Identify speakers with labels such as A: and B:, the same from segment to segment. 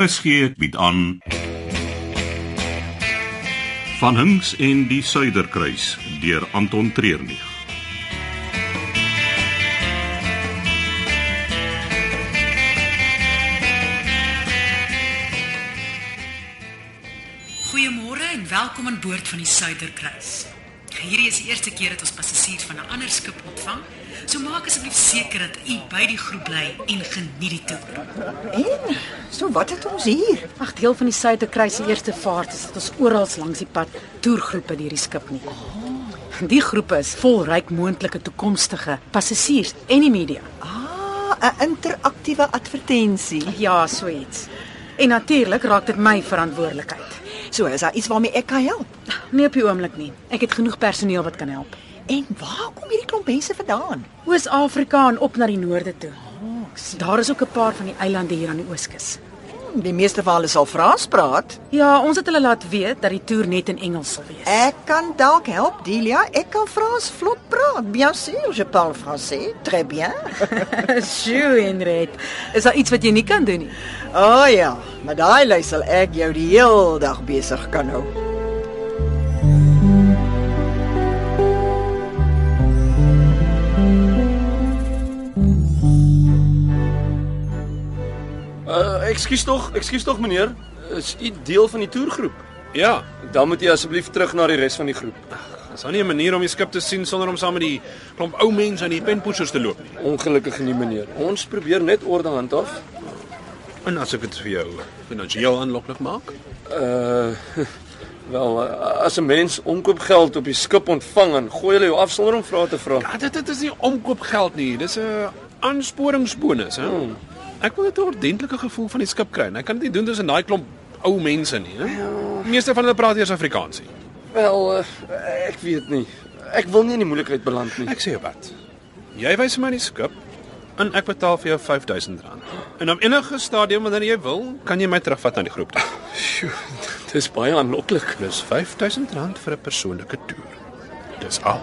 A: RSG bied aan Van Hinks en die Suiderkruis deur Anton Treurnig.
B: Goeiemôre en welkom aan boord van die Suiderkruis. Hierdie is die eerste keer dat ons passasiers van 'n ander skip ontvang, so maak asseblief seker dat u by die groep bly en geniet die toer.
C: En so wat het ons hier?
D: Ag deel van die Suiderkruis se eerste vaart is dat ons oral langs die pad toergroepe deur die skip nie. Die groepe is vol ryk moontlike toekomstige passasiers en die media.
C: Ah, 'n interaktiewe advertensie.
D: Ja, so iets. En natuurlik raak dit my verantwoordelikheid.
C: So is daar iets waarmee ek kan help.
D: Nee op die oomblik nie. Ek het genoeg personeel wat kan help.
C: En waar kom hierdie klomp mense vandaan?
D: Oos-Afrika en op na die noorde toe. Daar is ook 'n paar van die eilande hier aan die ooskus.
C: Hm, Die meeste van hulle sal Frans praat.
D: Ja, ons het hulle laat weet dat die toer net in Engels sal wees.
C: Ek kan dalk help, Delia. Ek kan Frans vlot praat. Bien sûr, je parle français. Très bien.
D: Sjoe, Henriet. Is daar iets wat jy nie kan doen nie?
C: O oh, ja, met daai lui sal ek jou die heel dag besig kan hou.
E: Uh, ekskuus tog, ekskuus tog meneer. Is u deel van die toergroep?
F: Ja,
E: Dan moet u asseblief terug na die res van die groep.
F: is daar nie 'n manier om die skip te sien sonder om saam met die klomp ou mense aan die penpoetsers te loop nie?
E: Ongelukkig nie meneer. Ons probeer net orde handhaaf.
F: En as ek dit vir jou finansiëel aanloklik maak?
E: Uh wel, uh, as 'n mens omkoopgeld op die skip ontvang, dan gooi hulle jou af sonder om vrae te vra.
F: Ja, dit dit is nie omkoopgeld nie, dis 'n aansporingsbonus, hè? Hmm. Ek wil net 'n ordentlike gevoel van die skip kry. en Ek kan dit nie doen tussen daai klomp ou mense nie, hè? Ja. Meeste van hulle praat eers Afrikaans. nie.
E: Wel, uh, ek weet nie. Ek wil nie in die moeilikheid beland nie.
F: Ek sê jou wat. Jy wys vir my die skip en ek betaal vir jou R5000. En op enige stadium wanneer jy wil, kan jy my terugvat na die groep toe.
E: Sjoe, dis baie aanloklik.
F: Dis R5000 vir 'n persoonlike toer. Dis al.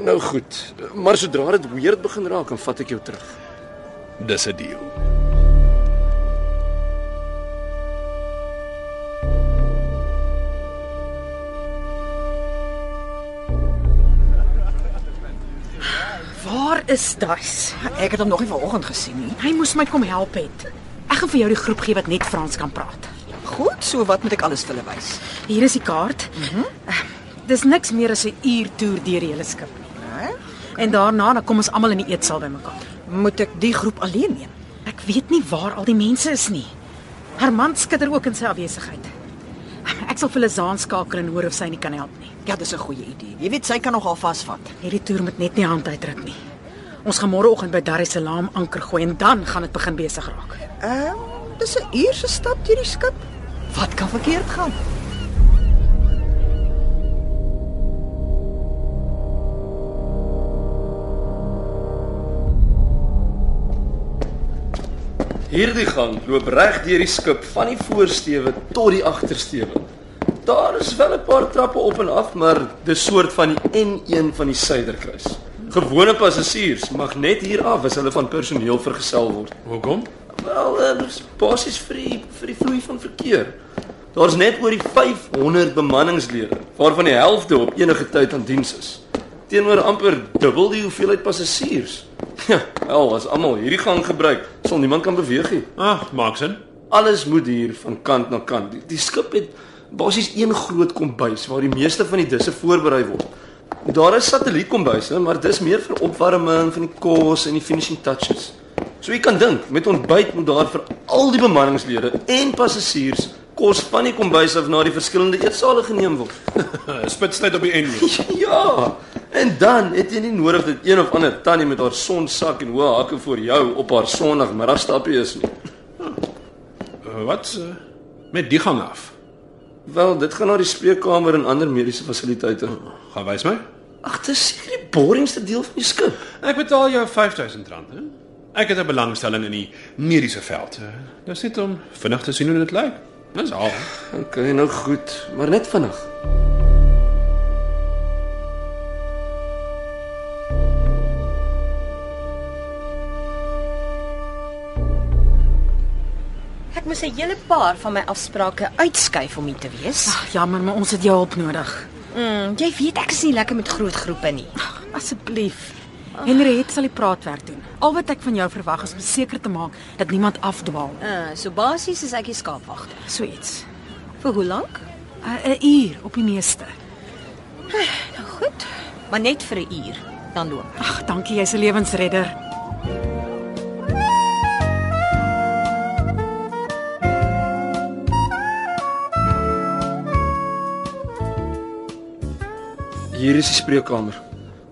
E: Nou goed, maar sodra dit weird begin raak, dan vat ek jou terug.
F: Dis 'n deal.
D: Waar is Duis?
C: Ek het hom nog nie vanoggend gesien nie.
D: Hy moes my kom help het. Ek gaan vir jou die groep gee wat net Frans kan praat.
C: Goed, so wat moet ek alles vir hulle wys?
D: Hier is die kaart. Mm -hmm. Dis niks meer as 'n uur toer deur die hele skip nie.
C: Hè?
D: En daarna dan kom ons almal in die eetsaal bymekaar.
C: Moet ek die groep alleen neem?
D: Ek weet nie waar al die mense is nie. Haar man skitter ook in sy afwesigheid. Ek sal vir Lizaan skakel en hoor of sy nie kan help nie.
C: Ja, dis 'n goeie idee. Jy weet sy kan nogal vasvat.
D: Hierdie toer moet net nie hand uitdruk nie. Ons gaan môreoggend by Dar es Salaam anker gooi en dan gaan dit begin besig raak.
C: Ehm, dis 'n uur se stap deur die skip. Wat kan verkeerd gaan?
E: Hierdie gang loop reg deur die skip van die voorsteewe tot die agtersteewe. Daar is wel 'n paar trappe op en af, maar dis soort van die N1 van die Suiderkruis. Gewone passasiers mag net hier af as hulle van personeel vergesel word.
F: Hoekom?
E: Wel, eh, dis basies vir die vir die vloei van verkeer. Daar's net oor die 500 bemanningslede, waarvan die helfte op enige tyd aan diens is. Teenoor amper dubbel die hoeveelheid passasiers. Ja, wel, as almal hierdie gang gebruik, sal niemand kan beweeg nie.
F: Ag, Ah, maak sin.
E: Alles moet hier van kant na kant. Die, die skip het basies een groot kombuis waar die meeste van die disse voorberei word. Daar is satellietkombuise, maar dis meer vir opwarming van die kos en die finishing touches. So jy kan dink, met ontbyt moet daar vir al die bemanningslede en passasiers kos van die kombuis af na die verskillende eetsale geneem word.
F: Spitstyd Eh, op die end.
E: ja. En dan het jy nie nodig dat een of ander tannie met haar sonsak en hoë hakke voor jou op haar Sondagmiddagstappie is nie.
F: Wat eh, met die gang af?
E: Wel, dit gaan na die spreekkamer en ander mediese fasiliteite.
F: Gaan wys my.
E: Ag, dis seker die boringste deel van die skip.
F: Ek betaal jou R5000, hè? Ek het 'n belangstelling in die mediese veld. Eh, Dis net om vinnig te sien hoe dit lyk. Dis al.
E: OK, nou goed, maar net vinnig.
G: Ek moes 'n hele paar van my afsprake uitskuif om hier te
C: Ah.
G: wees.
D: Ag, jammer, maar ons het jou hulp nodig.
G: Mm, jy weet ek is nie lekker met groot groepe nie.
C: Ah.
D: Ag, Asseblief. Henriet sal die praatwerk doen. Al wat ek van jou verwag is om seker te maak dat niemand afdwaal.
G: Uh, so basies is ek die skaapwagter.
D: So iets.
G: Vir hoe lank?
D: 'n Eh, Uur op die meeste.
G: Nou goed, maar net vir 'n uur, dan loop. ek.
D: Ag, dankie, jy's 'n lewensredder.
E: Hier is die spreekkamer.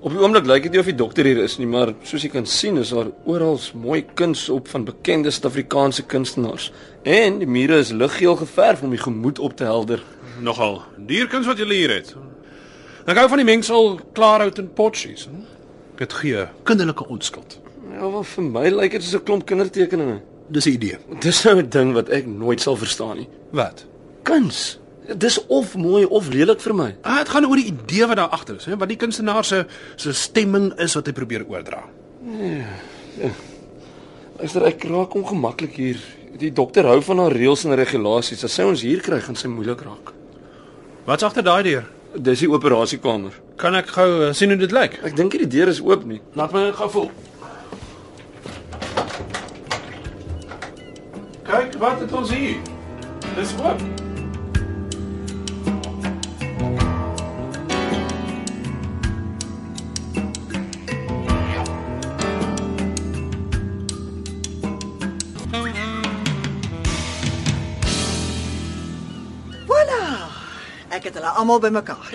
E: Op die oomblik lyk dit nie of die dokter hier is nie, maar soos jy kan sien is daar oral mooi kuns op van bekende Suid-Afrikaanse kunstenaars. En die mure is liggeel geverf om die gemoed op te helder.
F: Nogal. Dierkuns wat julle hier het. Ek hou van die mengsel klaarhout en potsies. hm? Dit gee kinderlike onskuld.
E: Ja, maar vir my lyk dit soos 'n klomp kindertekeninge.
F: Dis 'n idee.
E: Dis nou 'n ding wat ek nooit sal verstaan nie.
F: Wat?
E: Kuns. Dis of mooi of lelik vir my.
F: Ah, dit gaan oor die idee wat daar agter is, hè, wat die kunstenaar se se stemming is wat hy probeer oordra.
E: Luister, ek raak ongemaklik hier. Die dokter hou van haar reëls en regulasies. As sy ons hier kry, gaan sy moeilik raak.
F: Wat's agter daai deur?
E: Dis die operasiekamer.
F: Kan ek gou eh, sien hoe dit lyk?
E: Ek dink nie die deur is oop nie. Laat my gaan voel.
F: Kyk wat het ons hier. Dis oop.
C: Voilà. Ek het hulle almal bymekaar.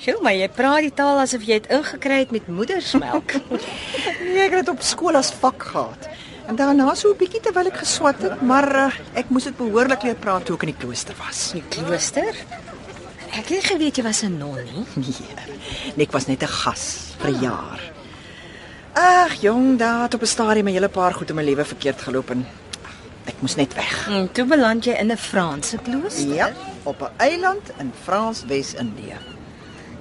G: Sjoe, maar jy praat die taal asof jy dit ingekry het met moedersmelk.
C: Nee, ek het dit op skool as vak gehad. En daarna so 'n bietjie terwyl ek geswat het, maar uh, ek moes dit behoorlik leer praat toe ek in die klooster was.
G: Die klooster? Ek het nie geweet jy was 'n non nie.
C: Nee. Nee, ek was net 'n gas vir 'n jaar. Ag, jong, daar het op 'n stadium 'n hele paar goed in my lewe verkeerd geloop en ek moes net weg.
G: En toe beland jy in 'n Franse klooster.
C: Ja, op 'n eiland in Frans-Wes-Indië.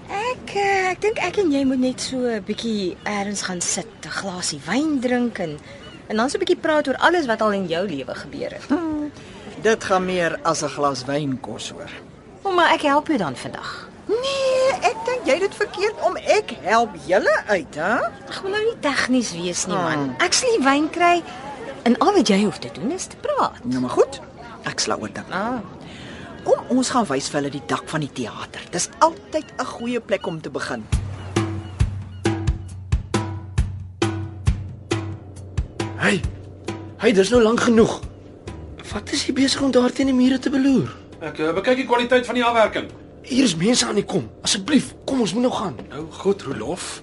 G: Ek eh, ek dink ek en jy moet net so 'n bietjie ergens gaan sit, 'n glasie wyn drink en en dan so 'n bietjie praat oor alles wat al in jou lewe gebeur het.
C: Dit gaan meer as 'n glas wyn kos hoor.
G: O, maar ek help jou dan vandag.
C: Nee, ek dink jy dit verkeerd om ek help julle uit, hè?
G: Ag, moet nou nie tegnies wees nie man. Ek sal die wyn kry en al wat jy hoef te doen is te praat.
C: Nou maar goed. Ek sla oor dan.
G: Ah,
C: Kom ons gaan wys vir hulle die dak van die teater. Dis altyd 'n goeie plek om te begin.
E: Hey. Hey, dis nou lank genoeg. Wat is jy besig om daar teen die mure te beloer?
F: Ek eh, bekyk die kwaliteit van die afwerking.
E: Hier is mense aan die kom. Asseblief, kom ons moet nou gaan.
F: Nou goed, Rolof.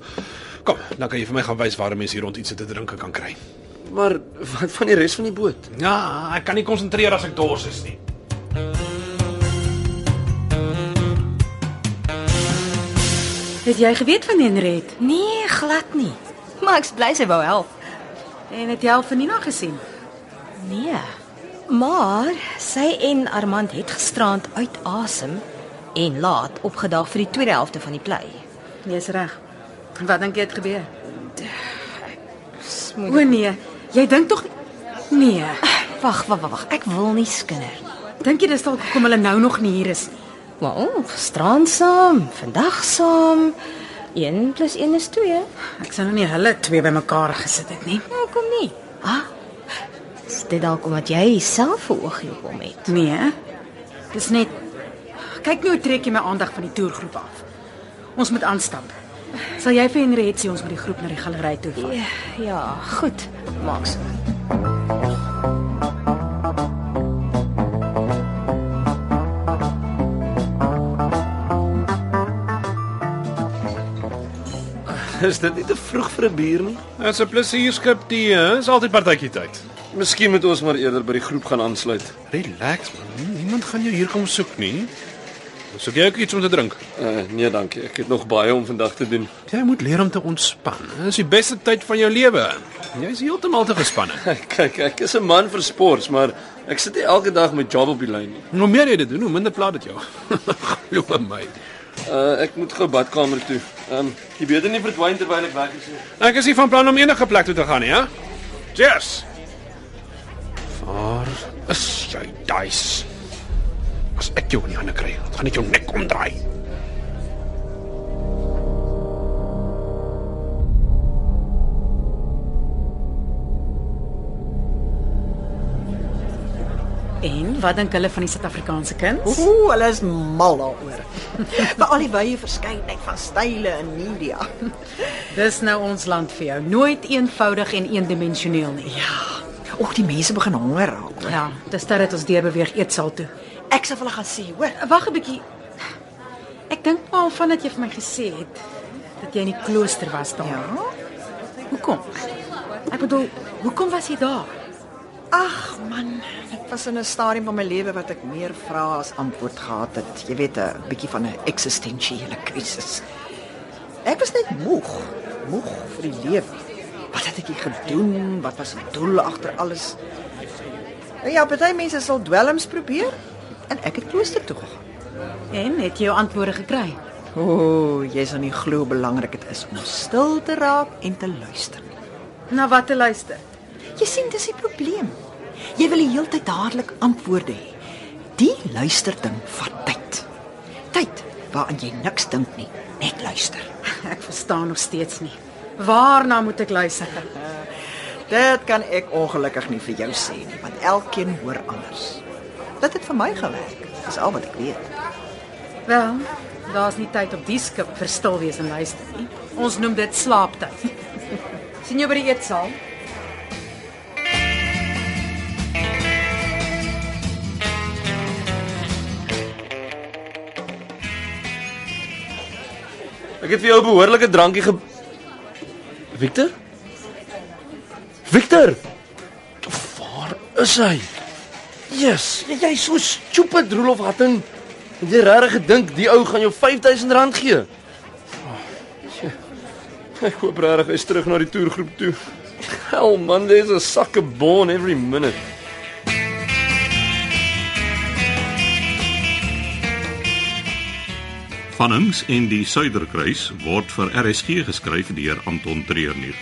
F: Kom, dan kan jy vir my gaan wys waar mense hier rond iets te drinke kan kry.
E: Maar wat van die res van die boot?
F: Ja, ek kan nie konsentreer as ek dors is nie.
D: Het jy geweet van Henriet?
G: nee, glad nie. Maar ek's bly sy wou help.
D: En het jy al van Nina gesien?
G: Nee. Maar sy en Armand het gisterand uit asem en laat opgedag vir die tweede helfte van die play.
D: Jy's reg. Wat dink jy het gebeur?
G: Smoedig.
D: O nee, jy dink tog nee.
G: Wag, wag, wag, wag. Ek wil nie skinder nie.
D: Dink jy dis dalk hoekom hulle nou nog nie hier is nie?
G: Maar o, gisterand saam, vandag saam. 1 + 1 is 2.
D: Ek sou nou nie hulle twee bymekaar gesit het nie.
G: Nou kom nie. Ah. Is dit dalk omdat jy self verhoog hom het?
D: Nee. Dis net kyk nou trek jy my aandag van die toergroep af. Ons moet aanstap. Sal jy vir Henriet sê ons moet die groep na die galery toe vat?
G: Ja, ja, goed. Maak so.
E: Is dit nie te vroeg vir 'n bier nie?
F: Dit's 'n plesierskip tee, hè? is altyd partytjie tyd.
E: Miskien moet ons maar eerder by die groep gaan aansluit.
F: Relax man, niemand gaan jou hier kom soek nie. Soek jy ook iets om te drink?
E: Uh, nee, dankie. Ek het nog baie om vandag te doen.
F: Jy moet leer om te ontspan. Dit is die beste tyd van jou lewe. Jy's heeltemal te gespanne.
E: Kyk, ek is 'n man vir sports, maar ek sit nie elke dag met job op die lyn nie.
F: En Hoe meer jy dit doen, hoe minder plaat dit jou. Glo my.
E: Uh, ek moet gou badkamer toe. Ehm, um, jy beter nie verdwyn terwyl ek weg is nie.
F: ja? Ek is nie van plan om enige plek toe te gaan nie, hè? Cheers. Vaar Is jy duis? As ek jou in die hande kry, gaan ek jou nek omdraai.
D: En wat dink hulle van die Suid-Afrikaanse kuns?
C: Ooh, hulle is mal daaroor. Veral die wye verskeidenheid van style in media.
D: Dis nou ons land vir jou. Nooit eenvoudig en eendimensioneel nie.
C: Ja. Ook die mense begin honger raak.
D: Ja, dis dat dit ons deur beweeg eetsaal toe.
C: Ek sal vir hulle gaan sê, hoor.
D: Wag 'n bietjie. Ek dink maar van dat jy vir my gesê het dat jy in die klooster was daar.
C: Ja.
D: Hoekom? Ek bedoel, hoekom was jy daar?
C: Ag man, ek was in 'n stadium van my lewe wat ek meer vrae as antwoord gehad het. Jy weet 'n bietjie van 'n eksistensiële krisis. Ek was net moeg, moeg vir die lewe. Wat het ek hier gedoen? Wat was my doel agter alles? Nou Ja, baie mense sal dwelms probeer en ek het klooster toe gegaan.
D: En het jy jou antwoorde gekry?
C: O, jy sal nie glo hoe belangrik dit is om stil te raak en te luister.
D: Na wat te luister?
C: Jy sien dis die probleem. Jy wil die hele tyd dadelik antwoorde hê. Die luisterding vat tyd. Tyd waarin jy niks dink nie, net luister.
D: Ek verstaan nog steeds nie. Waarna moet ek luister?
C: Dit kan ek ongelukkig nie vir jou sê nie, want elkeen hoor anders. Dit het vir my gewerk. Dis al wat ek weet.
D: Wel, daar's nie tyd op die skip vir stil wees en luister nie. Ons noem dit slaaptyd. sien jou by die eetsaal.
E: Ek het vir jou 'n behoorlike drankie ge Victor? Victor. Waar is hy? Jesus, Ja, jy is so stupid Rolof Hatting. Het jy regtig gedink die ou gaan jou R5000 gee? Oh, ja. ek hoop regtig hy's terug na die toergroep toe. Hel man, there's a sucker born every minute.
A: Van Hinks en die Suiderkruis word vir RSG geskryf deur Anton Treurnig.